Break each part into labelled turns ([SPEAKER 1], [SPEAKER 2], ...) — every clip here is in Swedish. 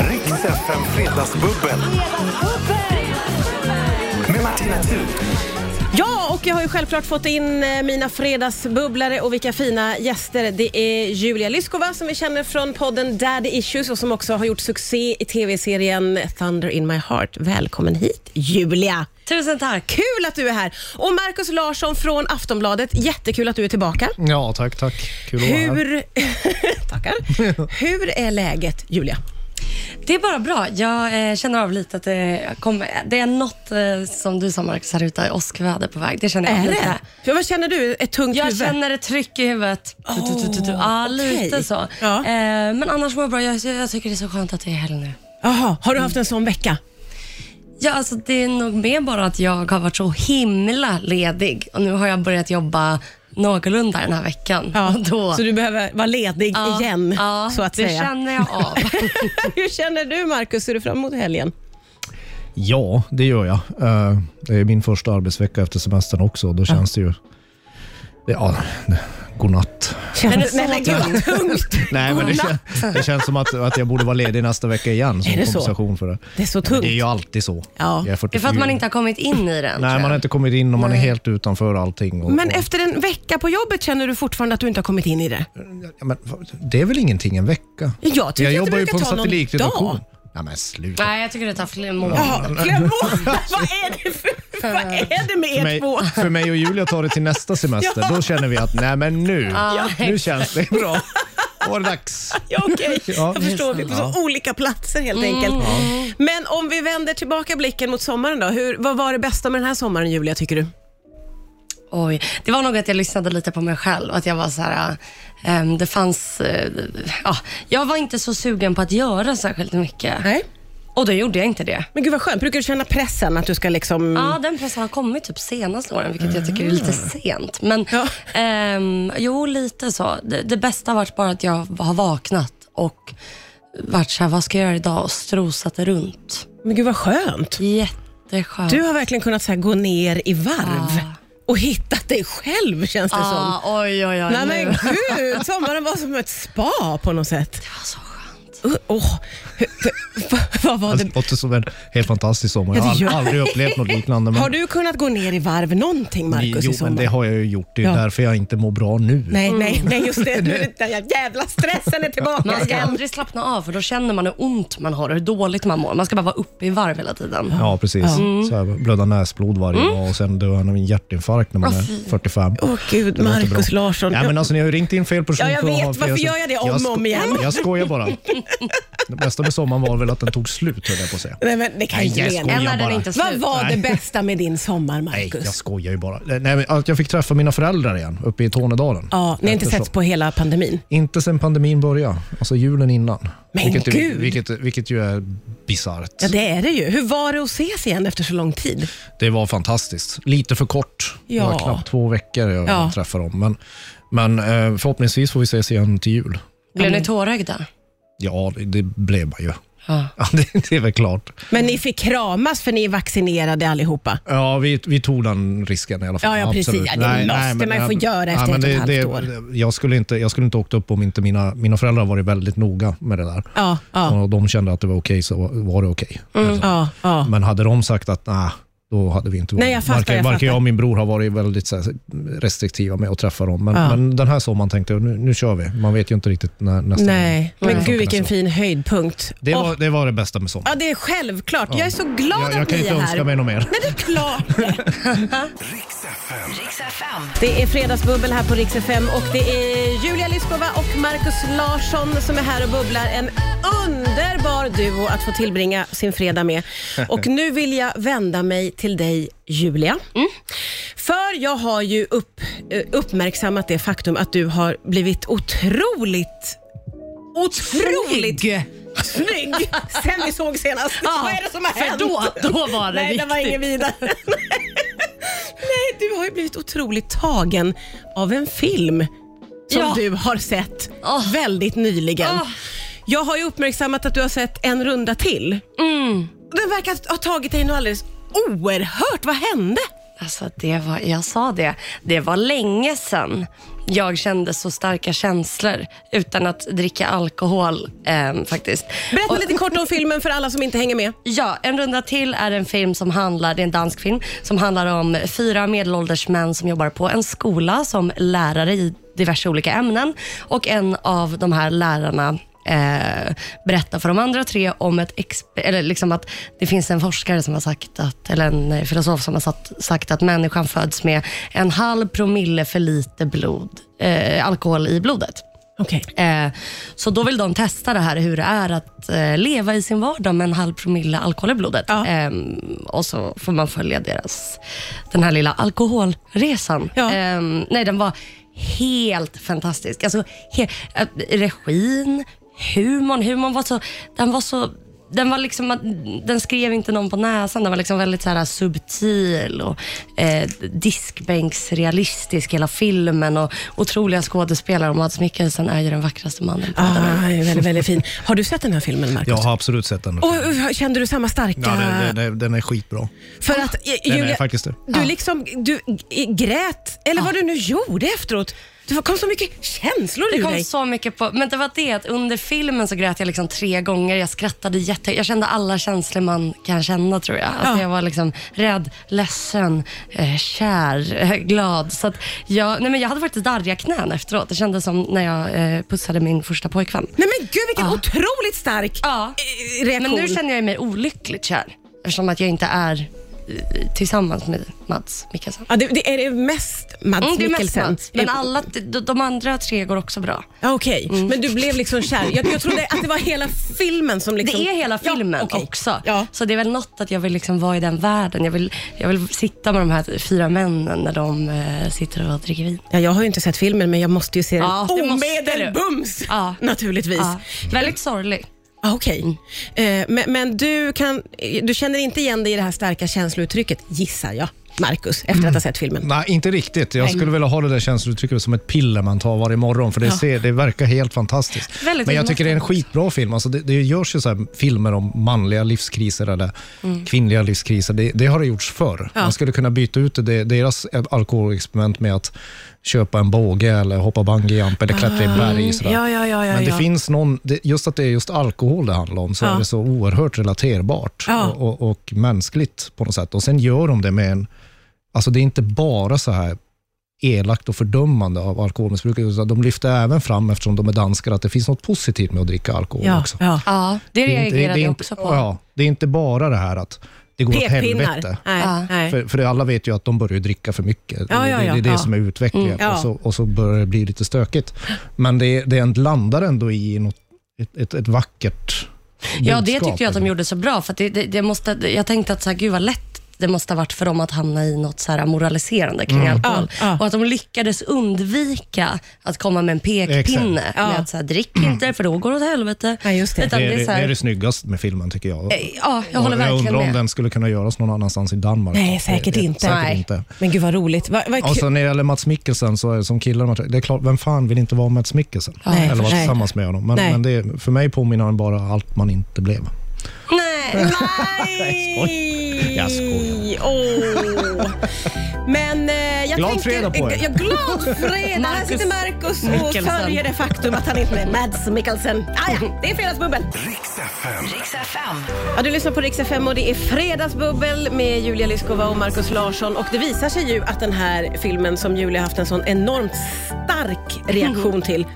[SPEAKER 1] FM Fredagsbubbel med Martina Thun.
[SPEAKER 2] Ja, och jag har ju självklart fått in eh, mina fredagsbubblare och vilka fina gäster. Det är Julia Lyskova som vi känner från podden Daddy Issues och som också har gjort succé i tv-serien Thunder in my heart. Välkommen hit Julia!
[SPEAKER 3] Tusen tack.
[SPEAKER 2] Kul att du är här! Och Markus Larsson från Aftonbladet, jättekul att du är tillbaka.
[SPEAKER 4] Ja, tack, tack. Kul att vara här.
[SPEAKER 2] Hur, tackar. Hur är läget Julia?
[SPEAKER 3] Det är bara bra. Jag eh, känner av lite att det, kommer, det är något, eh, som du sa Marcus, här ute, åskväder på väg. Det känner jag
[SPEAKER 2] Är
[SPEAKER 3] lite.
[SPEAKER 2] det? Ja, vad känner du? Ett tungt
[SPEAKER 3] Jag
[SPEAKER 2] huvud?
[SPEAKER 3] känner ett tryck i huvudet. Tu, tu, tu, tu, tu. Ja,
[SPEAKER 2] Åh, okej.
[SPEAKER 3] lite så.
[SPEAKER 2] Ja.
[SPEAKER 3] Eh, men annars mår jag bra. Jag, jag tycker det är så skönt att det är helg nu.
[SPEAKER 2] Jaha, har du haft en sån vecka?
[SPEAKER 3] Ja, alltså, det är nog mer bara att jag har varit så himla ledig och nu har jag börjat jobba någorlunda den här veckan. Och då,
[SPEAKER 2] Så du behöver vara ledig
[SPEAKER 3] Ja,
[SPEAKER 2] igen,
[SPEAKER 3] ja,
[SPEAKER 2] så att
[SPEAKER 3] det
[SPEAKER 2] säga.
[SPEAKER 3] känner jag av.
[SPEAKER 2] Hur känner du Markus? Ser du fram emot helgen?
[SPEAKER 4] Ja, det gör jag. Eh, Det är min första arbetsvecka efter semestern också. Då känns det ju... det- Ja, det- godnatt.
[SPEAKER 2] Känns
[SPEAKER 3] det så
[SPEAKER 2] gud, tungt?
[SPEAKER 4] Nej, men det, kän, det känns som att, att jag borde vara ledig nästa vecka igen som
[SPEAKER 2] Är det så?
[SPEAKER 4] kompensation för det.
[SPEAKER 2] Det är så
[SPEAKER 4] Men det är
[SPEAKER 2] tungt.
[SPEAKER 4] ju alltid så.
[SPEAKER 2] Ja.
[SPEAKER 4] Jag
[SPEAKER 3] Det är för att man inte har kommit in i den. tror
[SPEAKER 4] Nej,
[SPEAKER 3] jag.
[SPEAKER 4] man har inte kommit in och man är helt utanför allting. Och,
[SPEAKER 2] Men
[SPEAKER 4] och,
[SPEAKER 2] efter en vecka på jobbet känner du fortfarande att du inte har kommit in i det?
[SPEAKER 4] ja, men, det är väl ingenting en vecka?
[SPEAKER 2] typ. Jag tycker att det
[SPEAKER 4] jobbar ju
[SPEAKER 2] brukar
[SPEAKER 4] på en
[SPEAKER 2] ta någon
[SPEAKER 4] satellitredaktion.
[SPEAKER 2] dag.
[SPEAKER 4] Nej, men sluta.
[SPEAKER 3] Nej, jag tycker det tar flera månader.
[SPEAKER 2] Jaha, glöm bort. Vad är det för... Vad är det med
[SPEAKER 4] För
[SPEAKER 2] er
[SPEAKER 4] mig,
[SPEAKER 2] två?
[SPEAKER 4] för mig och Julia tar det till nästa semester.
[SPEAKER 2] Ja.
[SPEAKER 4] Då känner vi att nej men nu,
[SPEAKER 3] Ja,
[SPEAKER 4] nu känns det bra. Då var det dags.
[SPEAKER 2] Ja, okej.
[SPEAKER 4] Ja,
[SPEAKER 2] Jag förstår, vi är på så olika platser helt enkelt. Men om vi vänder tillbaka blicken mot sommaren då. Hur, vad var det bästa med den här sommaren Julia, tycker du?
[SPEAKER 3] Oj, det var nog att jag lyssnade lite på mig själv. Att jag var så här, äh, ehm, det fanns, eh, ja, jag var inte så sugen på att göra särskilt mycket.
[SPEAKER 2] Nej.
[SPEAKER 3] Och då gjorde jag inte det.
[SPEAKER 2] Men gud vad skönt. Brukar du känna pressen att du ska liksom...
[SPEAKER 3] Ja, den pressen har kommit typ senaste åren, vilket jag tycker är lite sent. Men
[SPEAKER 2] Ja.
[SPEAKER 3] ehm, jo, lite så. Det, det bästa har varit bara att jag har vaknat och varit så här, vad ska jag göra idag? Och strosat runt.
[SPEAKER 2] Men gud vad skönt.
[SPEAKER 3] Jätteskönt.
[SPEAKER 2] Du har verkligen kunnat så här, gå ner i varv
[SPEAKER 3] Ja.
[SPEAKER 2] och hittat dig själv känns det som.
[SPEAKER 3] ah, oj, oj, oj.
[SPEAKER 2] Nej
[SPEAKER 3] nu.
[SPEAKER 2] men gud, sommaren var som ett spa på något sätt.
[SPEAKER 3] Det var så skönt.
[SPEAKER 2] Uh, åh, hur- hur- vad var
[SPEAKER 4] Alltså, Det
[SPEAKER 2] det?
[SPEAKER 4] låter som en helt fantastisk sommar. Jag
[SPEAKER 2] Ja,
[SPEAKER 4] har
[SPEAKER 2] det
[SPEAKER 4] ald-
[SPEAKER 2] gör-
[SPEAKER 4] aldrig upplevt något liknande. Men,
[SPEAKER 2] Har du kunnat gå ner i varv någonting Markus
[SPEAKER 4] jo,
[SPEAKER 2] i
[SPEAKER 4] men
[SPEAKER 2] sommar?
[SPEAKER 4] det har jag ju gjort. Det är
[SPEAKER 2] Ja.
[SPEAKER 4] därför jag inte mår bra nu.
[SPEAKER 2] Nej, nej, nej just det. Nu är det den där jävla stressen är tillbaka
[SPEAKER 3] Mm. Man ska
[SPEAKER 2] igen.
[SPEAKER 3] aldrig slappna av för då känner man hur ont man har och hur dåligt man mår. Man ska bara vara uppe i varv hela tiden.
[SPEAKER 4] Ja, precis.
[SPEAKER 2] Mm.
[SPEAKER 4] Så här, blöda näsblod varje dag och sen dör han av en hjärtinfarkt när man
[SPEAKER 3] Åh,
[SPEAKER 4] är
[SPEAKER 3] fy.
[SPEAKER 4] 45.
[SPEAKER 2] Åh gud,
[SPEAKER 4] Det låter bra.
[SPEAKER 2] Markus Larsson.
[SPEAKER 4] Ja, men alltså, ni har ju ringt in fel person.
[SPEAKER 2] Ja, jag
[SPEAKER 4] för att
[SPEAKER 2] vet.
[SPEAKER 4] ha fel-
[SPEAKER 2] Varför gör jag det om och
[SPEAKER 4] sko-
[SPEAKER 2] om igen?
[SPEAKER 4] Jag skojar bara. Det bästa med sommaren var väl att den tog slut, höll jag på att säga.
[SPEAKER 2] Nej, men det kan
[SPEAKER 4] Nej,
[SPEAKER 2] jag inte
[SPEAKER 4] jag
[SPEAKER 2] mena.
[SPEAKER 4] skojar.
[SPEAKER 3] Än är den
[SPEAKER 4] bara.
[SPEAKER 3] inte slut.
[SPEAKER 2] Vad var det bästa med din sommar
[SPEAKER 4] Nej, jag
[SPEAKER 2] Markus?
[SPEAKER 4] skojar ju bara. Eh, Nej, men att jag fick träffa mina föräldrar igen uppe i Tornedalen.
[SPEAKER 2] Ja, ni har inte
[SPEAKER 4] Eftersom-
[SPEAKER 2] setts på hela pandemin?
[SPEAKER 4] Inte sen pandemin började, alltså julen innan.
[SPEAKER 2] Men
[SPEAKER 4] vilket, ju-
[SPEAKER 2] gud!
[SPEAKER 4] vilket, vilket ju är bisarrt.
[SPEAKER 2] Ja,
[SPEAKER 4] det...
[SPEAKER 2] det är det ju. Hur var det att ses igen efter så lång tid?
[SPEAKER 4] var fantastiskt. Lite för kort. Det
[SPEAKER 2] Ja.
[SPEAKER 4] var knappt två veckor jag
[SPEAKER 2] Ja.
[SPEAKER 4] träffade dem. Men, men eh, förhoppningsvis får vi ses igen till jul.
[SPEAKER 3] Blev ni tårögda?
[SPEAKER 4] Ja, det, det blev man ju.
[SPEAKER 3] Ja.
[SPEAKER 4] Ja, det, det är väl klart.
[SPEAKER 2] Men ni fick kramas för ni är vaccinerade allihopa.
[SPEAKER 4] Ja, vi, vi tog den risken i alla fall.
[SPEAKER 2] Ja, ja, precis. Ja, det måste man få göra efter ett och ett halvt
[SPEAKER 4] år. Jag skulle inte, jag skulle inte åkt upp om inte mina, mina föräldrar har varit väldigt noga med det där.
[SPEAKER 2] Ja, ja, Mm.
[SPEAKER 4] Och de kände att det var okej, så var det okej. Alltså.
[SPEAKER 2] ja, ja.
[SPEAKER 4] Men hade de sagt att nah, då hade vi inte
[SPEAKER 2] Nej, jag fattar,
[SPEAKER 4] varken,
[SPEAKER 2] jag
[SPEAKER 4] varken
[SPEAKER 2] fattar.
[SPEAKER 4] jag och min bror har varit väldigt så här, restriktiva med att träffa dem. Men,
[SPEAKER 2] Ja.
[SPEAKER 4] men den här sommaren tänkte jag, nu, nu kör vi. Man vet ju inte riktigt när nästa
[SPEAKER 2] Nej,
[SPEAKER 4] gång.
[SPEAKER 2] men
[SPEAKER 4] funkar
[SPEAKER 2] gud vilken
[SPEAKER 4] nästa gång.
[SPEAKER 2] fin höjdpunkt.
[SPEAKER 4] Mm. Det
[SPEAKER 2] Åh,
[SPEAKER 4] var, det var det bästa med sommaren.
[SPEAKER 2] Ja, det är självklart. Jag är så glad
[SPEAKER 4] Jag, jag
[SPEAKER 2] att
[SPEAKER 4] kan
[SPEAKER 2] ni
[SPEAKER 4] inte
[SPEAKER 2] är här.
[SPEAKER 4] önska mig något mer.
[SPEAKER 2] Nej, det är klart det.
[SPEAKER 1] Riks FM.
[SPEAKER 2] Det är fredagsbubbel här på Rix FM och det är Julia Lyskova och Markus Larsson som är här och bubblar. En underbar duo att få tillbringa sin fredag med. Och nu vill jag vända mig till dig Julia.
[SPEAKER 3] Mm.
[SPEAKER 2] För jag har ju upp, eh, uppmärksammat det faktum att du har blivit otroligt Otroligt snygg sen vi såg senast. Vad är det som har hänt?
[SPEAKER 3] För då, då var det
[SPEAKER 2] Nej,
[SPEAKER 3] riktigt.
[SPEAKER 2] det var ingen vidare. Nej, du har ju blivit otroligt tagen av en film som
[SPEAKER 3] Ja.
[SPEAKER 2] du har sett
[SPEAKER 3] Åh.
[SPEAKER 2] väldigt nyligen.
[SPEAKER 3] Åh.
[SPEAKER 2] Jag har ju uppmärksammat att du har sett en runda till.
[SPEAKER 3] Mm.
[SPEAKER 2] Den verkar ha tagit dig något alldeles oerhört. Vad hände?
[SPEAKER 3] Alltså det var, jag sa det, det var länge sedan. jag kände så starka känslor utan att dricka alkohol eh, faktiskt.
[SPEAKER 2] Berätta
[SPEAKER 3] Och-
[SPEAKER 2] lite kort om filmen för alla som inte hänger med.
[SPEAKER 3] Ja, En runda till är en film som handlar, det är en dansk film, som handlar om fyra medelålders män som jobbar på en skola som lärare i diverse olika ämnen. Och en av de här lärarna eh, berättar för de andra tre om ett exp- eller liksom att det finns en forskare som har sagt att, eller en eh, filosof som har sagt, sagt att människan föds med en halv promille för lite blod, eh, alkohol i blodet.
[SPEAKER 2] Okej.
[SPEAKER 3] Eh, så då vill de testa det här hur det är att eh, leva i sin vardag med en halv promille alkohol i blodet.
[SPEAKER 2] Ja.
[SPEAKER 3] Eh, och så får man följa deras, den här lilla alkoholresan.
[SPEAKER 2] Ja.
[SPEAKER 3] Eh, nej, den var helt fantastisk. Alltså, he- eh, regin, humorn, humorn var så, den var så den, var liksom, att- den skrev inte någon på näsan, den var liksom väldigt så här subtil och eh, diskbänksrealistisk hela filmen och otroliga skådespelare. Och Mads Mikkelsen är ju den vackraste mannen på jorden.
[SPEAKER 2] Ah, väldigt, väldigt fin. Har du sett den här filmen, Markus?
[SPEAKER 4] Jag har absolut sett den.
[SPEAKER 2] Och, uh, kände du samma starka...
[SPEAKER 4] Ja, den, den, den, den är skitbra.
[SPEAKER 2] För att eh,
[SPEAKER 4] Den är
[SPEAKER 2] Julia,
[SPEAKER 4] faktiskt det.
[SPEAKER 2] du liksom du g- grät, eller vad du nu gjorde efteråt. Det kom så mycket känslor
[SPEAKER 3] Det
[SPEAKER 2] ur
[SPEAKER 3] kom
[SPEAKER 2] dig.
[SPEAKER 3] så mycket på, men det var det att under filmen så grät jag liksom tre gånger. Jag skrattade jätte, jag kände alla känslor man kan känna tror jag. Alltså
[SPEAKER 2] Ja.
[SPEAKER 3] Jag var liksom rädd, ledsen, eh, kär, eh, glad. Så att jag, nej men jag hade faktiskt darriga knän efteråt. Det kändes som när jag eh, pussade min första pojkvän.
[SPEAKER 2] Nej men gud vilken otroligt stark
[SPEAKER 3] Ja.
[SPEAKER 2] eh, reaktion.
[SPEAKER 3] Men nu känner jag mig olyckligt kär eftersom att jag inte är eh, tillsammans med Mats Mikkelsen.
[SPEAKER 2] ja, det, det är det mest Mads
[SPEAKER 3] Mm, det är mest
[SPEAKER 2] Mikkelsen. Eh,
[SPEAKER 3] Mats, men alla, Mm. de, de andra tre går också bra.
[SPEAKER 2] Ja, Okej, men du blev liksom kär. Jag, jag trodde att det var hela filmen som liksom...
[SPEAKER 3] Det är hela filmen
[SPEAKER 2] ja, okej.
[SPEAKER 3] också.
[SPEAKER 2] Ja.
[SPEAKER 3] Så det är väl något att jag vill liksom vara i den världen. Jag vill, jag vill sitta med de här fyra männen när de eh, sitter och dricker vin.
[SPEAKER 2] Ja, jag har ju inte sett filmen, men jag måste ju se den
[SPEAKER 3] Ja, det måste
[SPEAKER 2] omedelbums
[SPEAKER 3] du. Ja.
[SPEAKER 2] naturligtvis.
[SPEAKER 3] Ja. Väldigt sorglig.
[SPEAKER 2] Ah, Okej, Eh, men, men du, kan, eh, du känner inte igen dig i det här starka känslouttrycket, gissar jag, Markus, efter att ha sett filmen.
[SPEAKER 4] Nej, inte riktigt. Jag skulle vilja ha det där känslouttrycket som ett piller man tar varje morgon, för det, ser, det verkar helt fantastiskt.
[SPEAKER 3] Väldigt
[SPEAKER 4] Men jag tycker det är en
[SPEAKER 3] inmatande.
[SPEAKER 4] skitbra film. Alltså det, det görs ju så här filmer om manliga livskriser eller kvinnliga livskriser. Det, det har det gjorts förr. Man skulle kunna byta ut det, deras alkoholexperiment med att köpa en båge eller hoppa bungyjump eller klättra i en berg. Sådär.
[SPEAKER 2] Ja, ja, ja, ja,
[SPEAKER 4] Men det
[SPEAKER 2] ja.
[SPEAKER 4] finns någon, det, just att det är just alkohol det handlar om, så
[SPEAKER 2] Ja.
[SPEAKER 4] är det så oerhört relaterbart
[SPEAKER 2] Ja.
[SPEAKER 4] och, och, och mänskligt på något sätt. Och sen gör de det med en Alltså det är inte bara så här elakt och fördömande av alkoholmissbruket, utan de lyfter även fram, eftersom de är danskar, att det finns något positivt med att dricka alkohol
[SPEAKER 2] Ja,
[SPEAKER 4] också.
[SPEAKER 2] ja.
[SPEAKER 3] Ja, det
[SPEAKER 4] är inte-
[SPEAKER 3] reagerade
[SPEAKER 4] det är
[SPEAKER 3] jag
[SPEAKER 4] inte-
[SPEAKER 3] också på.
[SPEAKER 4] Ja, det är inte bara det här att det går åt
[SPEAKER 2] Pekpinnar.
[SPEAKER 4] helvete.
[SPEAKER 2] Nej,
[SPEAKER 3] Ja.
[SPEAKER 2] nej.
[SPEAKER 4] För, för alla vet ju att de börjar ju dricka för mycket.
[SPEAKER 2] Ja,
[SPEAKER 4] det,
[SPEAKER 2] ja,
[SPEAKER 4] det, det
[SPEAKER 2] ja,
[SPEAKER 4] är det
[SPEAKER 2] ja.
[SPEAKER 4] som är utvecklingen.
[SPEAKER 2] ja.
[SPEAKER 4] Och, så, och så börjar det bli lite stökigt. Men det, det landar ändå i något, ett, ett, ett vackert
[SPEAKER 3] Ja, det
[SPEAKER 4] budskap. liksom.
[SPEAKER 3] tyckte jag att de gjorde så bra. För att det, det, det måste, jag tänkte att så här, gud vad lätt det måste ha varit för dem att hamna i något så här moraliserande kring
[SPEAKER 4] Mm.
[SPEAKER 3] alkohol.
[SPEAKER 2] Ja, ja.
[SPEAKER 3] Och att de lyckades undvika att komma med en pekpinne.
[SPEAKER 4] Exakt.
[SPEAKER 2] Ja.
[SPEAKER 3] Med att så här, drick inte för då går det åt helvete.
[SPEAKER 2] Ja, just det.
[SPEAKER 3] Utan
[SPEAKER 4] Det
[SPEAKER 3] det
[SPEAKER 4] är
[SPEAKER 3] är
[SPEAKER 4] det,
[SPEAKER 3] så
[SPEAKER 4] det, är
[SPEAKER 3] här,
[SPEAKER 4] det snyggaste med filmen tycker jag.
[SPEAKER 3] ja, jag håller
[SPEAKER 4] Och
[SPEAKER 3] verkligen
[SPEAKER 4] undrar om
[SPEAKER 3] med.
[SPEAKER 4] den skulle kunna göras någon annanstans i Danmark.
[SPEAKER 2] Nej, säkert
[SPEAKER 4] Det- det-
[SPEAKER 2] inte.
[SPEAKER 4] Säkert
[SPEAKER 3] Nej.
[SPEAKER 4] inte.
[SPEAKER 2] Men gud vad roligt. Vad- vad
[SPEAKER 4] Och
[SPEAKER 2] kul.
[SPEAKER 4] så när det gäller Mats Mikkelsen, så är det som killar, det är klart, vem fan vill inte vara Mats Mikkelsen?
[SPEAKER 2] Nej,
[SPEAKER 4] Eller vara
[SPEAKER 2] nej.
[SPEAKER 4] tillsammans med honom. Men,
[SPEAKER 2] Nej.
[SPEAKER 4] men det, för mig påminner han bara allt man inte blev.
[SPEAKER 3] Nej.
[SPEAKER 2] Nej!
[SPEAKER 4] Jag skojar.
[SPEAKER 2] Åh. Men eh, jag
[SPEAKER 4] Glad
[SPEAKER 2] tänker...
[SPEAKER 4] fredag på er.
[SPEAKER 2] Ja, glad fredag! Här
[SPEAKER 3] Marcus
[SPEAKER 2] sitter Markus och
[SPEAKER 3] Mikkelsen.
[SPEAKER 2] följer det faktum att han inte är med. Mads Mikkelsen. Ah, ja, det är Fredagsbubbel.
[SPEAKER 1] Riks FM.
[SPEAKER 2] Ja, du lyssnar på Rix FM och det är Fredagsbubbel med Julia Lyskova och Markus Larsson. Och det visar sig ju att den här filmen som Julia haft en sån enormt stark
[SPEAKER 3] Mhm.
[SPEAKER 2] reaktion till,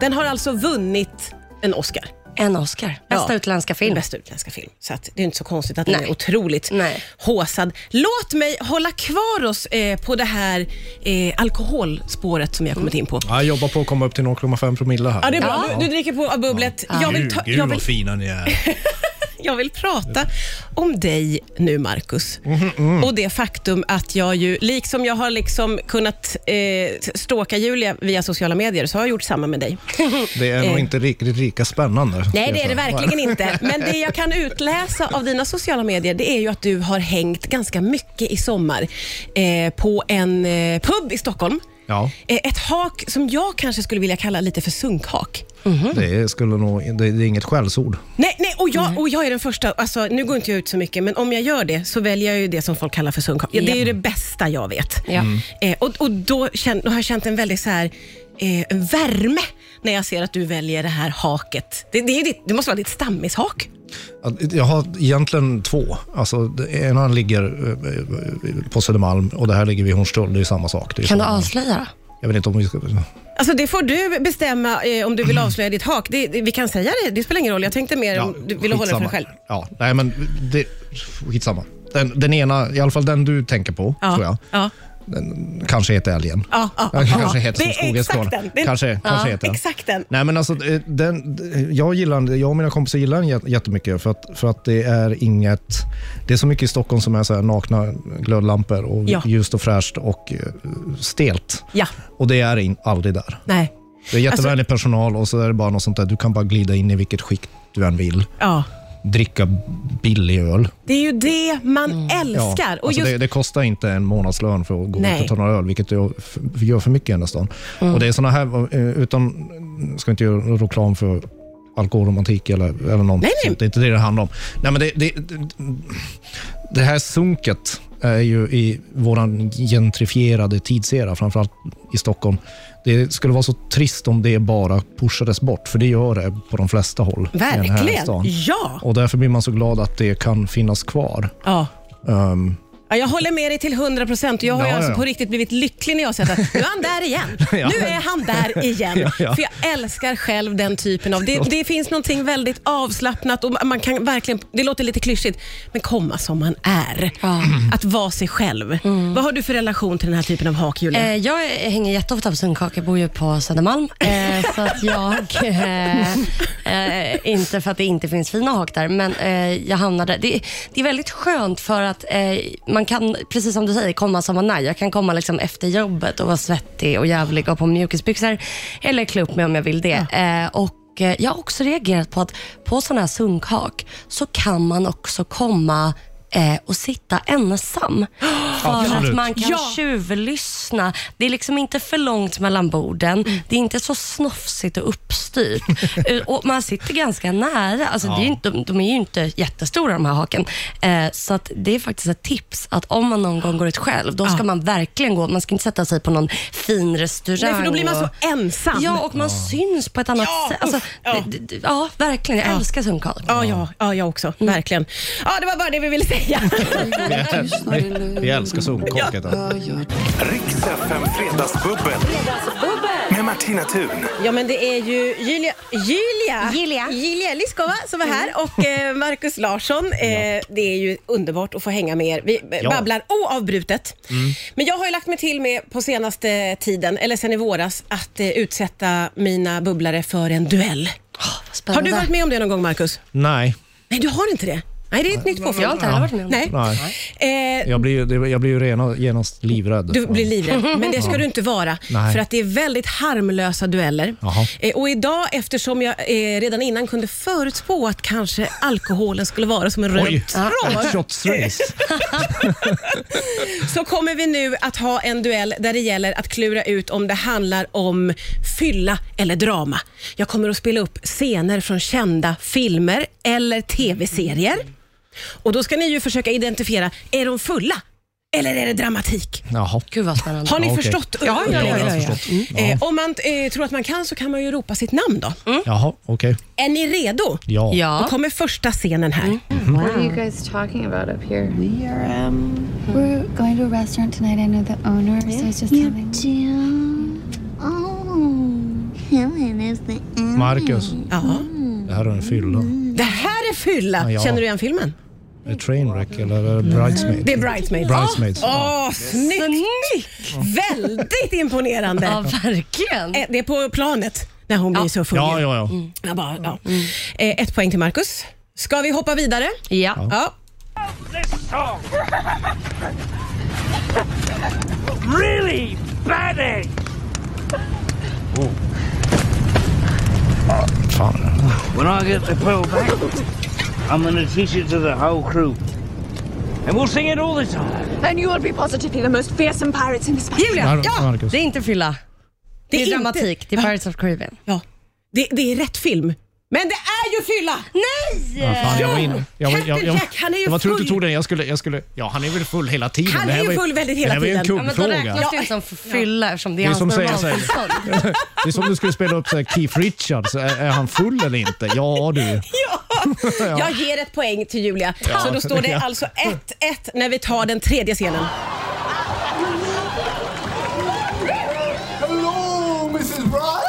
[SPEAKER 2] den har alltså vunnit en Oscar.
[SPEAKER 3] En Oscar. Bästa
[SPEAKER 2] Ja.
[SPEAKER 3] utländska
[SPEAKER 2] Den
[SPEAKER 3] film.
[SPEAKER 2] bästa utländska film. Så att det är inte så konstigt att den
[SPEAKER 3] Nej.
[SPEAKER 2] är otroligt
[SPEAKER 3] Nej.
[SPEAKER 2] håsad. Låt mig hålla kvar oss eh, på det här eh, alkoholspåret som jag har kommit
[SPEAKER 3] Mm.
[SPEAKER 2] in på.
[SPEAKER 4] Jag jobbar på att komma upp till 0,5 promille här.
[SPEAKER 2] Ja, det är bra. Du, du dricker på av bubblet. Jag, vill ta, jag, vill,
[SPEAKER 4] fina ni är.
[SPEAKER 2] jag vill prata om dig nu, Markus. Och det faktum att jag ju, liksom jag har liksom kunnat eh, ståka Julia via sociala medier, så har jag gjort samma med dig.
[SPEAKER 4] Det är nog inte riktigt lika spännande. ska
[SPEAKER 2] Eh. Nej,
[SPEAKER 4] jag
[SPEAKER 2] det är det
[SPEAKER 4] säga.
[SPEAKER 2] verkligen inte. Men det jag kan utläsa av dina sociala medier, det är ju att du har hängt ganska mycket i sommar eh, på en eh, pub i Stockholm
[SPEAKER 4] Ja.
[SPEAKER 2] Eh, Ett hak som jag kanske skulle vilja kalla lite för sunkhak.
[SPEAKER 4] Det, skulle nog, det, det är inget skällsord.
[SPEAKER 2] Nej, nej, och jag, och jag är den första, alltså, nu går inte jag ut så mycket, men om jag gör det så väljer jag ju det som folk kallar för sunkhak. Ja, det är ju det bästa jag vet.
[SPEAKER 3] Ja. Mm.
[SPEAKER 2] Eh, och, och då, känn, då har jag känt en väldigt så här, eh, en värme när jag ser att du väljer det här haket. Det, det, är ju ditt, det måste vara ditt stammishak.
[SPEAKER 4] Att- Jag har egentligen två. Alltså, det- ena ligger eh, på Södermalm och det här ligger vid Hornstull. Det är ju samma sak. Det är
[SPEAKER 3] Kan du
[SPEAKER 4] samma-
[SPEAKER 3] avslöja?
[SPEAKER 4] Jag vet inte om vi ska...
[SPEAKER 2] Alltså det får du bestämma eh, om du
[SPEAKER 4] Mm.
[SPEAKER 2] vill avslöja ditt hak. Det, det, vi kan säga det, det spelar ingen roll. Jag tänkte mer om du vill hålla det för dig
[SPEAKER 4] skitsamma.
[SPEAKER 2] själv.
[SPEAKER 4] Ja, nej men det... Skitsamma. Den, den ena, i alla fall den du tänker på, tror jag.
[SPEAKER 2] ja.
[SPEAKER 4] Den kanske heter älgen.
[SPEAKER 2] Ja, ja,
[SPEAKER 4] Den
[SPEAKER 2] ja.
[SPEAKER 4] kanske heter
[SPEAKER 2] Det
[SPEAKER 4] som
[SPEAKER 2] är
[SPEAKER 4] skogens
[SPEAKER 2] exakt
[SPEAKER 4] kvarn.
[SPEAKER 2] den. Det är-
[SPEAKER 4] Kanske, kanske
[SPEAKER 2] Ja,
[SPEAKER 4] heter den.
[SPEAKER 2] exakt den.
[SPEAKER 4] Nej, men alltså, eh, den, jag, gillar, den- jag och mina kompisar gillar den jät- jättemycket för att, för att det är inget... Det är så mycket i Stockholm som är så här nakna glödlampor och
[SPEAKER 2] Ja.
[SPEAKER 4] ljust och fräscht och eh, stelt.
[SPEAKER 2] Ja.
[SPEAKER 4] Och det är in, aldrig där.
[SPEAKER 2] Nej.
[SPEAKER 4] Det är jättevänlig personal och så är det bara något sånt där. Du kan bara glida in i vilket skick du än vill.
[SPEAKER 2] Ja.
[SPEAKER 4] Dricka billig öl.
[SPEAKER 2] Det är ju det man älskar. Och
[SPEAKER 4] alltså
[SPEAKER 2] just,
[SPEAKER 4] det, det kostar inte en månadslön för att gå
[SPEAKER 2] Nej. Mm.
[SPEAKER 4] ut och ta några öl, vilket jag f- gör för mycket i den här stan. Och det är såna här, eh, utan, ska inte göra reklam för alkoholromantik eller, eller något.
[SPEAKER 2] Nej, nej.
[SPEAKER 4] sånt. Det är inte det det handlar om. Nej, men det, det, det här sunket är ju i vår gentrifierade tidsera, framförallt i Stockholm. Det skulle vara så trist om det bara pushades bort, för det gör det på de flesta håll i den här
[SPEAKER 2] verkligen.
[SPEAKER 4] stan.
[SPEAKER 2] Ja.
[SPEAKER 4] Och därför blir man så glad att det kan finnas kvar.
[SPEAKER 2] ja.
[SPEAKER 4] Ehm,
[SPEAKER 2] Ja, jag håller med dig till 100 procent. Jag har ju
[SPEAKER 4] Ja, ja,
[SPEAKER 2] alltså
[SPEAKER 4] ja.
[SPEAKER 2] på riktigt blivit lycklig när jag har sett att nu är han där igen.
[SPEAKER 4] Ja.
[SPEAKER 2] Nu är han där igen.
[SPEAKER 4] Ja, ja.
[SPEAKER 2] För jag älskar själv den typen av... Det, det finns någonting väldigt avslappnat och man kan verkligen... Det låter lite klyschigt, men komma som man är.
[SPEAKER 3] Ja. Mm.
[SPEAKER 2] Att vara sig själv. Vad har du för relation till den här typen av hak, Julia?
[SPEAKER 3] Eh, jag hänger jätteofta på Sundkaka, jag bor ju på Södermalm. Eh, så att jag, eh, eh, inte för att det inte finns fina hak där, men eh, jag hamnade, det, det är väldigt skönt för att eh, man kan, precis som du säger, komma som man är. Jag kan komma liksom efter jobbet och vara svettig och jävlig och på mjukisbyxor eller klä upp mig om jag vill det. Eh, och och, eh, jag har också reagerat på att på sådana här sunkhak så kan man också komma eh, och sitta ensam. För att
[SPEAKER 4] Absolut.
[SPEAKER 3] man kan
[SPEAKER 2] Ja.
[SPEAKER 3] tjuvlyssna. Det är liksom inte för långt mellan borden.
[SPEAKER 2] Mm.
[SPEAKER 3] Det är inte så snofsigt och uppstyrt. Eh, och man sitter ganska nära. Alltså, det är ju inte, de, de är ju inte jättestora de här haken. Eh, så att det är faktiskt ett tips att om man någon gång går ut själv, då ska man verkligen gå. Man ska inte sätta sig på någon fin restaurang.
[SPEAKER 2] Nej, för då blir man
[SPEAKER 3] och-
[SPEAKER 2] så ensam.
[SPEAKER 3] Ja, och man syns på ett annat
[SPEAKER 2] Ja,
[SPEAKER 3] sätt. Alltså,
[SPEAKER 2] uff, ja.
[SPEAKER 3] d- d- ja, verkligen. Jag älskar sunkar.
[SPEAKER 2] Ja, ja, ja, jag också.
[SPEAKER 3] Mm.
[SPEAKER 2] Verkligen. Ja, det var bara det vi ville säga.
[SPEAKER 4] vi, vi älskar sunkkaket.
[SPEAKER 1] Riks FM Fredagsbubbel. Med Martina Thun.
[SPEAKER 2] ja, men det är ju Julia, Julia,
[SPEAKER 3] Julia. Mm.
[SPEAKER 2] Julia Liskova som är här och eh, Markus Larsson. Eh, det är ju underbart att få hänga med er. Vi eh,
[SPEAKER 4] Ja. Mm.
[SPEAKER 2] babblar oavbrutet. Men jag har ju lagt mig till med på senaste tiden, eller sen i våras, att eh, utsätta mina bubblare för en duell. Har du varit med om det någon gång, Markus?
[SPEAKER 4] Nej,
[SPEAKER 2] Nej, du har inte det. Nej, det är ett nytt påfund.
[SPEAKER 3] Jag har inte heller varit med om det.
[SPEAKER 2] Nej.
[SPEAKER 4] nej.
[SPEAKER 2] Eh,
[SPEAKER 4] Jag blir, ju- det- jag blir ju rena, genast livrädd.
[SPEAKER 2] Du blir livrädd, men det ska du inte vara.
[SPEAKER 4] Nej.
[SPEAKER 2] För att det är väldigt harmlösa dueller.
[SPEAKER 4] Jaha.
[SPEAKER 2] Eh, och idag, eftersom jag eh, redan innan kunde förutspå att kanske alkoholen skulle vara som en
[SPEAKER 4] Oj,
[SPEAKER 2] röd tråd,
[SPEAKER 4] ett shots race.
[SPEAKER 2] så kommer vi nu att ha en duell där det gäller att klura ut om det handlar om fylla eller drama. Jag kommer att spela upp scener från kända filmer eller tv-serier. Och då ska ni ju försöka identifiera, är de fulla eller är det dramatik?
[SPEAKER 4] Jaha.
[SPEAKER 3] Gud vad spännande.
[SPEAKER 2] Har ni
[SPEAKER 4] Ja, Mm. okej.
[SPEAKER 2] förstått?
[SPEAKER 3] Ja, ja, ja,
[SPEAKER 4] jag har
[SPEAKER 3] ja, ja.
[SPEAKER 4] förstått.
[SPEAKER 2] Eh, om man eh, tror att man kan så kan man ju ropa sitt namn då.
[SPEAKER 4] Jaha, okej.
[SPEAKER 2] Är ni redo?
[SPEAKER 4] Mm. Ja. Mm.
[SPEAKER 2] Då
[SPEAKER 3] Ja.
[SPEAKER 2] kommer första scenen här.
[SPEAKER 5] What are you guys talking about up here?
[SPEAKER 6] We are um we're going to a restaurant tonight. I know the owner, so I was just having
[SPEAKER 7] Oh, Helen is the
[SPEAKER 4] Marcus,
[SPEAKER 2] Ja.
[SPEAKER 4] det här är en fylla.
[SPEAKER 2] Det här är fylla.
[SPEAKER 4] Ja.
[SPEAKER 2] Känner du igen filmen?
[SPEAKER 4] Är det Trainwreck eller är det Bridesmaid?
[SPEAKER 2] Det är Bridesmaids.
[SPEAKER 4] Bridesmaids.
[SPEAKER 2] Åh, snyggt! Väldigt imponerande.
[SPEAKER 3] Ja, verkligen.
[SPEAKER 2] Eh, Det är på planet när hon blir så full.
[SPEAKER 4] Ja, Mm. ja, ja.
[SPEAKER 2] Jag bara, ja. Eh, Ett poäng till Marcus. Ska vi hoppa vidare?
[SPEAKER 3] Ja.
[SPEAKER 2] Ja.
[SPEAKER 8] this song. really bad egg.
[SPEAKER 4] Fan.
[SPEAKER 8] When I get the pearl back, I'm gonna teach it to the whole crew. And we'll sing it all the time.
[SPEAKER 9] And you will be positively the most fearsome pirates in this battle.
[SPEAKER 3] Julia,
[SPEAKER 4] Mar-
[SPEAKER 3] ja!
[SPEAKER 4] Marcus.
[SPEAKER 3] Det är inte fylla. Det är,
[SPEAKER 2] inte-
[SPEAKER 3] dramatik. Det är Pirates of Caribbean.
[SPEAKER 2] Ja. Det, det är rätt film. Men det är ju fylla!
[SPEAKER 3] Nej!
[SPEAKER 4] Ja, fan, jag var inne. Jag, var- jag, jag,
[SPEAKER 2] Captain Jack, han är ju
[SPEAKER 4] jag var tror du
[SPEAKER 2] full.
[SPEAKER 4] inte tog den. Jag skulle, jag skulle, ja, han är väl full hela tiden.
[SPEAKER 2] Han
[SPEAKER 4] Det här
[SPEAKER 2] är ju
[SPEAKER 4] var
[SPEAKER 2] full väldigt hela
[SPEAKER 4] Det här var ju en
[SPEAKER 2] tiden.
[SPEAKER 3] Ja, men då
[SPEAKER 4] kuggfråga.
[SPEAKER 3] räknas det inte som fylla eftersom det
[SPEAKER 4] Det
[SPEAKER 3] är,
[SPEAKER 4] är
[SPEAKER 3] hans
[SPEAKER 4] som säger så här.
[SPEAKER 3] normaltillstånd.
[SPEAKER 4] Det är som du skulle spela upp så här Keith Richards. Är, är han full eller inte? Ja du.
[SPEAKER 2] Jag ger ett poäng till Julia. Så då står det
[SPEAKER 4] Ja.
[SPEAKER 2] alltså 1-1 när vi tar den tredje scenen.
[SPEAKER 10] Hello, Mrs. Wright!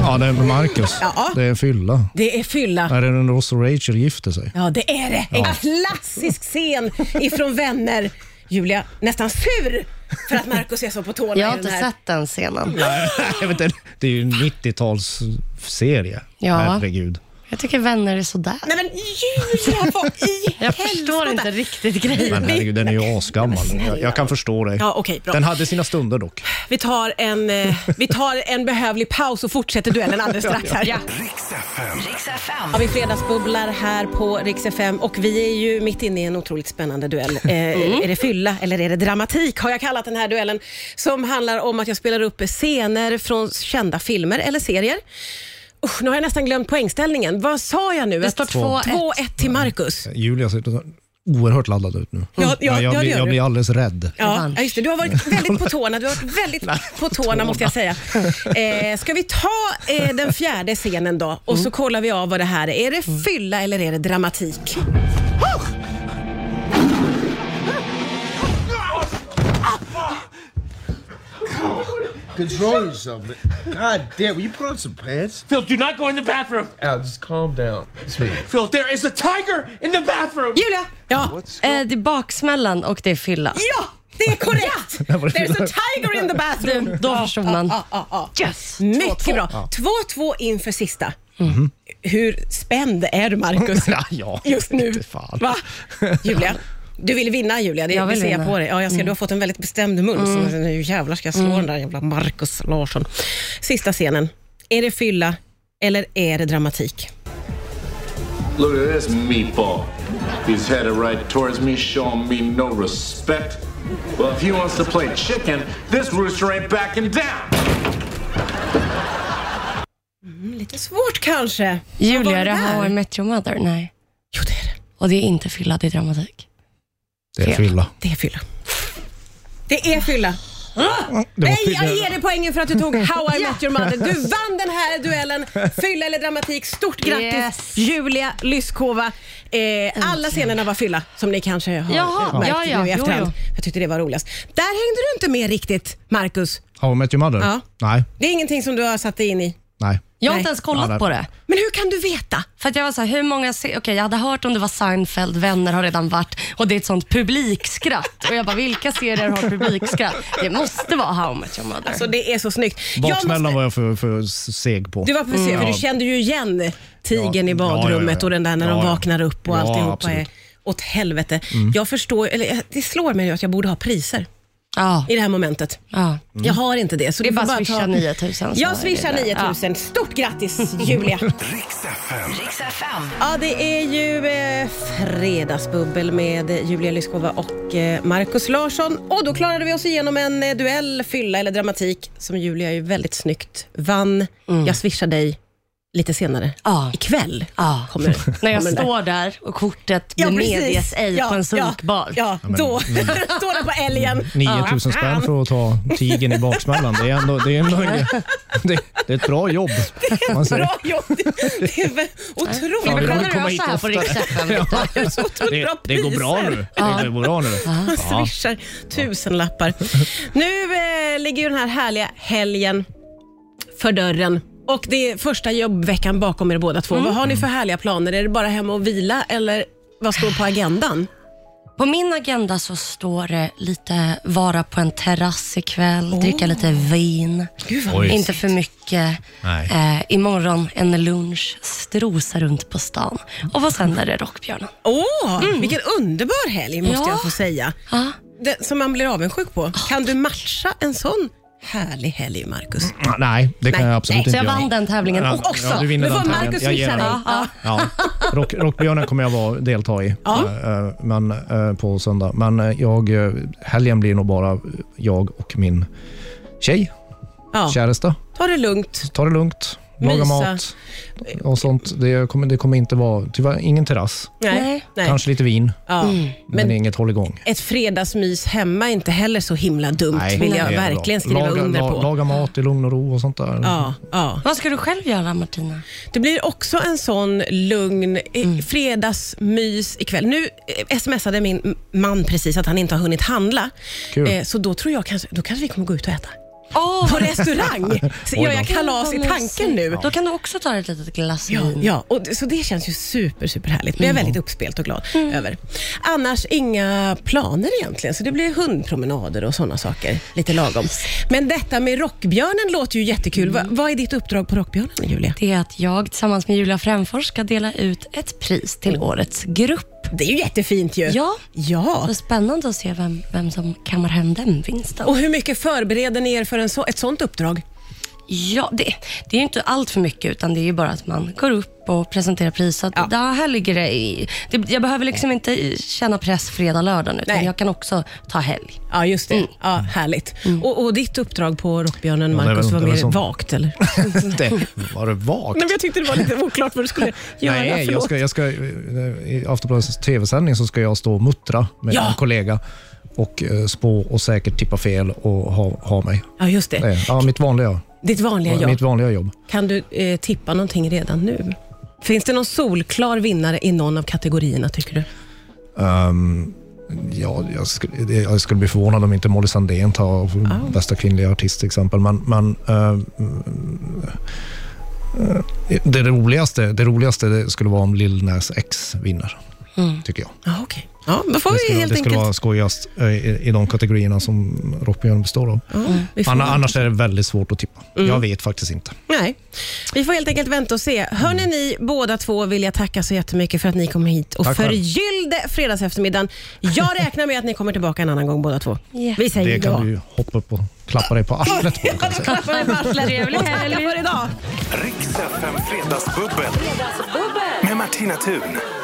[SPEAKER 4] Ja, det är Marcus.
[SPEAKER 2] Ja.
[SPEAKER 4] Det är fylla.
[SPEAKER 2] Det är fylla.
[SPEAKER 4] Är det när Ross och Rachel gifter sig?
[SPEAKER 2] Ja, det är det. En klassisk scen ifrån Vänner. Julia, nästan sur för att Markus är så på tårna
[SPEAKER 3] Jag har
[SPEAKER 2] i den
[SPEAKER 3] inte
[SPEAKER 2] här.
[SPEAKER 3] sett den scenen.
[SPEAKER 4] Jag vet inte. Det är ju en 90-talsserie.
[SPEAKER 3] Ja.
[SPEAKER 4] Herregud.
[SPEAKER 3] Jag tycker vänner är sådär.
[SPEAKER 2] Nej men Julia, vad i
[SPEAKER 3] Jag förstår inte riktigt
[SPEAKER 4] Men
[SPEAKER 3] grejen.
[SPEAKER 4] herregud, den är ju asgammal. Jag, jag kan förstå dig.
[SPEAKER 2] Ja, okej, bra.
[SPEAKER 4] Den hade sina stunder dock.
[SPEAKER 2] Vi tar, en, eh, vi tar en behövlig paus och fortsätter duellen alldeles strax. Här. ja.
[SPEAKER 1] Riks FM.
[SPEAKER 2] Ja, vi fredagsbubblar här på Rix FM och vi är ju mitt inne i en otroligt spännande duell. Eh, Är det fylla eller är det dramatik har jag kallat den här duellen som handlar om att jag spelar upp scener från kända filmer eller serier. Usch, nu har jag nästan glömt poängställningen. Vad sa jag nu?
[SPEAKER 3] Det står 2-1.
[SPEAKER 2] 2-1 till Marcus.
[SPEAKER 4] Julia ser oerhört laddad ut nu.
[SPEAKER 2] Ja, ja, ja, det
[SPEAKER 4] jag, blir,
[SPEAKER 2] gör
[SPEAKER 4] jag
[SPEAKER 2] du.
[SPEAKER 4] blir alldeles rädd.
[SPEAKER 2] Ja,
[SPEAKER 3] Revansch.
[SPEAKER 2] ja, just det. Du har varit väldigt på tårna. Du har varit väldigt på tårna måste jag säga. Eh, ska vi ta eh, den fjärde scenen då och så kollar vi av vad det här är. Är det fylla eller är det dramatik?
[SPEAKER 10] Control yourself, man. God damn, will you put on some pants?
[SPEAKER 8] Phil, do not go in the bathroom.
[SPEAKER 10] Al, just calm down.
[SPEAKER 8] Phil, there is a tiger in the bathroom.
[SPEAKER 2] Julia! Ja.
[SPEAKER 3] Eh, det är baksmällan och det är fylla.
[SPEAKER 2] Ja, det är korrekt! There's a tiger in the bathroom.
[SPEAKER 3] Då förstår man.
[SPEAKER 2] Ja, ja, ja.
[SPEAKER 3] Yes!
[SPEAKER 2] Mycket bra. 2-2 inför sista. Hur spänd är du, Markus?
[SPEAKER 4] Mm-hmm. Ja, ja.
[SPEAKER 2] Just nu.
[SPEAKER 4] Inte fan.
[SPEAKER 2] Va? Julia? Du vill vinna Julia, det
[SPEAKER 3] Jag
[SPEAKER 2] jag
[SPEAKER 3] vill
[SPEAKER 2] ser jag
[SPEAKER 3] vinna. Mm.
[SPEAKER 2] på dig. Ja, jag ser, Du har fått en väldigt bestämd mun. Så jag- nu jävlar ska jag slå den där jävla Markus Larsson. Sista scenen. Är det fylla eller är det dramatik?
[SPEAKER 10] Look at this meatball. He's headed right towards me, showing me no respect. Well, if he wants to play chicken, this rooster ain't backing down.
[SPEAKER 2] Lite svårt kanske. Vad var
[SPEAKER 3] Julia,
[SPEAKER 2] det
[SPEAKER 3] det
[SPEAKER 2] där?
[SPEAKER 3] har Met Your Mother? Nej.
[SPEAKER 2] Jo, det är det.
[SPEAKER 3] Och det är inte fylla, det är dramatik.
[SPEAKER 4] Det är fylla.
[SPEAKER 2] Det är fylla. Det är fylla.
[SPEAKER 4] Det var
[SPEAKER 2] Nej,
[SPEAKER 4] fylla.
[SPEAKER 2] jag ger dig poängen för att du tog How I Met Your Mother. Du vann den här duellen. Fylla eller dramatik. Stort grattis
[SPEAKER 3] Yes.
[SPEAKER 2] Julia Lyskova. Eh, alla scenerna var fylla, som ni kanske har
[SPEAKER 3] Jaha,
[SPEAKER 2] eh, märkt
[SPEAKER 3] ja, ja,
[SPEAKER 2] nu i
[SPEAKER 3] jo,
[SPEAKER 2] efterhand.
[SPEAKER 3] jo.
[SPEAKER 2] Jag tyckte det var roligast. Där hängde du inte med riktigt, Marcus.
[SPEAKER 4] How I Met Your Mother?
[SPEAKER 2] Ja.
[SPEAKER 4] Nej.
[SPEAKER 2] Det är ingenting som du har satt dig in i.
[SPEAKER 4] Nej.
[SPEAKER 3] Jag har
[SPEAKER 2] Nej.
[SPEAKER 3] inte ens
[SPEAKER 4] Ja,
[SPEAKER 3] kollat
[SPEAKER 4] där-
[SPEAKER 3] på det.
[SPEAKER 2] Men hur kan du veta?
[SPEAKER 3] För att jag var så här, hur många se- Okej, jag hade hört om det var Seinfeld, vänner har redan varit och det är ett sånt publikskratt. Och jag bara, vilka serier har publikskratt? Det måste vara How I Met Your Mother.
[SPEAKER 2] Så det är så snyggt. Jag
[SPEAKER 4] Baksmällan
[SPEAKER 2] måste-
[SPEAKER 4] var jag för, för seg på.
[SPEAKER 2] Du var precis, för du kände ju igen tigern
[SPEAKER 4] Ja,
[SPEAKER 2] i
[SPEAKER 4] ja, ja,
[SPEAKER 2] badrummet
[SPEAKER 4] ja.
[SPEAKER 2] och den där när de
[SPEAKER 4] Ja, ja.
[SPEAKER 2] vaknar upp och
[SPEAKER 4] Ja,
[SPEAKER 2] alltihopa
[SPEAKER 4] absolut. Mm.
[SPEAKER 2] är åt helvete. Jag förstår, eller jag- det slår mig nu att jag borde ha priser
[SPEAKER 3] Ja.
[SPEAKER 2] i det här momentet.
[SPEAKER 3] ja.
[SPEAKER 4] Mm.
[SPEAKER 2] Jag har inte det. Så
[SPEAKER 3] Det är
[SPEAKER 2] du får
[SPEAKER 3] bara
[SPEAKER 2] ta-
[SPEAKER 3] swisha 9000. så
[SPEAKER 2] Jag
[SPEAKER 3] är
[SPEAKER 2] swishar
[SPEAKER 3] det där.
[SPEAKER 2] 9000. Stort grattis Julia.
[SPEAKER 1] Riks FM.
[SPEAKER 2] ja, det är ju eh, fredagsbubbel med Julia Lyskova och eh, Markus Larsson. Och då klarade vi oss igenom en eh, duell, fylla eller dramatik som Julia ju väldigt snyggt vann. Jag swishar dig lite senare.
[SPEAKER 3] Mm. Ja.
[SPEAKER 2] Ikväll
[SPEAKER 3] Ja.
[SPEAKER 2] kommer du.
[SPEAKER 3] När jag
[SPEAKER 2] kommer du där.
[SPEAKER 3] står där och kortet ja, medges ej på en sunkbar.
[SPEAKER 2] Ja, ja. då står det på älgen.
[SPEAKER 4] 9000 spänn för att ta tigern i baksmällan. Det är, ändå, det, är en möjlig, det, det är ett bra jobb. Man säger.
[SPEAKER 2] Bra jobb! Det är väl otroligt
[SPEAKER 4] Ja,
[SPEAKER 2] bra.
[SPEAKER 4] det
[SPEAKER 3] Ibland
[SPEAKER 4] kommer
[SPEAKER 3] rör
[SPEAKER 4] komma
[SPEAKER 3] jag
[SPEAKER 4] hit
[SPEAKER 3] så här på
[SPEAKER 4] oftare.
[SPEAKER 3] Riksfn.
[SPEAKER 4] Det, det går bra nu. Det går bra nu. Ja.
[SPEAKER 2] Swishar tusenlappar. Nu eh, ligger ju den här härliga helgen för dörren. Och det är första jobbveckan bakom er båda två. Vad har ni för härliga planer? Är det bara hem och vila eller vad står på agendan?
[SPEAKER 3] På min agenda så står det lite vara på en terrass ikväll, dricka lite vin.
[SPEAKER 4] Oj.
[SPEAKER 3] Inte för mycket.
[SPEAKER 4] Nej.
[SPEAKER 3] Eh, imorgon en lunch, strosa runt på stan. Och vad sen är det Rockbjörnen.
[SPEAKER 2] Åh,
[SPEAKER 4] Mm.
[SPEAKER 2] vilken underbar helg måste
[SPEAKER 3] Ja.
[SPEAKER 2] jag få säga.
[SPEAKER 3] Ja.
[SPEAKER 2] Det, som man blir avundsjuk
[SPEAKER 4] Ah.
[SPEAKER 2] på. Kan du matcha en sån härlig helg, Marcus?
[SPEAKER 4] Nej, det kan
[SPEAKER 2] Nej,
[SPEAKER 4] jag absolut
[SPEAKER 2] nej.
[SPEAKER 4] inte
[SPEAKER 3] Så jag
[SPEAKER 4] göra.
[SPEAKER 3] vann den tävlingen
[SPEAKER 4] Mm. Ja,
[SPEAKER 3] också.
[SPEAKER 4] Ja, du vinner
[SPEAKER 2] Nu
[SPEAKER 4] den
[SPEAKER 2] får
[SPEAKER 4] tävlingen.
[SPEAKER 2] Marcus
[SPEAKER 4] Jag ger
[SPEAKER 2] swisha
[SPEAKER 4] dig.
[SPEAKER 2] dig.
[SPEAKER 4] Ja. Rock, rockbjörnen kommer jag vara, delta i
[SPEAKER 2] Ja.
[SPEAKER 4] eh, men, eh, på söndag. Men eh, jag, eh, helgen blir nog bara jag och min tjej,
[SPEAKER 2] Ja.
[SPEAKER 4] käresta.
[SPEAKER 2] Ta det lugnt.
[SPEAKER 4] Ta det lugnt, laga
[SPEAKER 2] Mysa.
[SPEAKER 4] mat och sånt. Det kommer, det kommer inte vara, tyvärr ingen terrass.
[SPEAKER 2] Nej. Nej.
[SPEAKER 4] Kanske lite vin,
[SPEAKER 2] Ja.
[SPEAKER 4] men,
[SPEAKER 2] Men-
[SPEAKER 4] inget hålligång.
[SPEAKER 2] Ett fredagsmys hemma är inte heller så himla dumt, vill jag
[SPEAKER 4] det är
[SPEAKER 2] verkligen
[SPEAKER 4] bra.
[SPEAKER 2] skriva
[SPEAKER 4] laga,
[SPEAKER 2] under
[SPEAKER 4] la-
[SPEAKER 2] på.
[SPEAKER 4] Laga mat i lugn och ro och sånt där.
[SPEAKER 2] Ja, ja.
[SPEAKER 3] Vad ska du själv göra Martina?
[SPEAKER 2] Det blir också en sån lugn eh, fredagsmys ikväll. Nu eh, smsade min man precis att han inte har hunnit handla.
[SPEAKER 4] Kul.
[SPEAKER 2] Eh, Så då tror jag kanske, då kanske vi kommer gå ut och äta.
[SPEAKER 3] Åh,
[SPEAKER 2] På restaurang! Så
[SPEAKER 4] Oj
[SPEAKER 2] gör
[SPEAKER 4] då.
[SPEAKER 2] jag kalas i tanken nu.
[SPEAKER 3] Då kan du också ta ett litet glass
[SPEAKER 2] Ja,
[SPEAKER 4] Mm.
[SPEAKER 3] vin.
[SPEAKER 2] ja och det, så det känns ju super, super härligt. Men jag är väldigt uppspelt och glad
[SPEAKER 4] Mm.
[SPEAKER 2] över. Annars inga planer egentligen, så det blir hundpromenader och sådana saker. Lite lagom. Men detta med Rockbjörnen låter ju jättekul.
[SPEAKER 4] Mm.
[SPEAKER 2] Va, vad är ditt uppdrag på Rockbjörnen, Julia?
[SPEAKER 3] Det är att jag tillsammans med Julia Fränfors ska dela ut ett pris till årets grupp.
[SPEAKER 2] Det är ju jättefint ju.
[SPEAKER 3] Ja.
[SPEAKER 2] Mm. Ja.
[SPEAKER 3] Så spännande att se vem, vem som kammar hem den vinsten.
[SPEAKER 2] Och hur mycket förbereder ni er för en så, ett sånt uppdrag?
[SPEAKER 3] Ja, det, det är ju inte allt för mycket, utan det är ju bara att man går upp och presenterar pris. Så att där, här ligger det i, det, jag behöver liksom inte i- känna press fredag, lördag nu, utan
[SPEAKER 2] Nej.
[SPEAKER 3] jag kan också ta helg.
[SPEAKER 2] Ja, just det. Ja, härligt. Och, och ditt uppdrag på Rockbjörnen,
[SPEAKER 4] Mm. Ja, det är
[SPEAKER 2] Markus,
[SPEAKER 4] väl-
[SPEAKER 2] var
[SPEAKER 4] det är väl
[SPEAKER 2] mer
[SPEAKER 4] som-
[SPEAKER 2] vagt eller?
[SPEAKER 4] det, var det vagt?
[SPEAKER 2] Nej, men jag tyckte det var lite oklart vad du skulle göra.
[SPEAKER 4] Nej, jag
[SPEAKER 2] Förlåt.
[SPEAKER 4] ska, jag ska, eh, I Aftonbladets tv-sändning så ska jag stå och muttra med
[SPEAKER 2] Ja.
[SPEAKER 4] en kollega och eh, spå och säkert tippa fel och ha, ha mig.
[SPEAKER 2] Ja, just det.
[SPEAKER 4] Det är- Ja, mitt vanliga,
[SPEAKER 2] Ditt vanliga jag.
[SPEAKER 4] mitt vanliga jobb.
[SPEAKER 2] Kan du eh, tippa någonting redan nu? Finns det någon solklar vinnare i någon av kategorierna tycker du?
[SPEAKER 4] Ehm, ja, jag, skulle, det- jag skulle bli förvånad om inte Molly Sandén tar bästa kvinnliga artist till exempel. Men, men ehm, eh, det, roligaste, det roligaste det skulle vara om Lil Nas X vinner, tycker jag.
[SPEAKER 2] Ja, okej. Ja, då får
[SPEAKER 4] Det
[SPEAKER 2] vi
[SPEAKER 4] skulle,
[SPEAKER 2] helt
[SPEAKER 4] det skulle
[SPEAKER 2] enkelt...
[SPEAKER 4] vara skojigast eh, i, i de kategorierna som Rockbjörn består av.
[SPEAKER 2] vi får, Mm.
[SPEAKER 4] Anna, annars är det väldigt svårt att tippa. Jag vet faktiskt inte.
[SPEAKER 2] Nej, vi får helt enkelt vänta och se. Hörni,
[SPEAKER 4] Mm.
[SPEAKER 2] ni båda två vill jag tacka så jättemycket för att ni kom hit och
[SPEAKER 4] Tack själv.
[SPEAKER 2] förgyllde fredagseftermiddagen. Jag räknar med att ni kommer tillbaka en annan gång båda två.
[SPEAKER 3] Ja.
[SPEAKER 2] Vi säger
[SPEAKER 4] Det kan
[SPEAKER 2] ja.
[SPEAKER 4] du ju hoppa upp och klappa dig på arslet på. Kan jag säga.
[SPEAKER 2] Klappar med varslet. Trevlig helg. Tackar för idag.
[SPEAKER 1] Riks FM Fredagsbubbel. Med Martina Thun.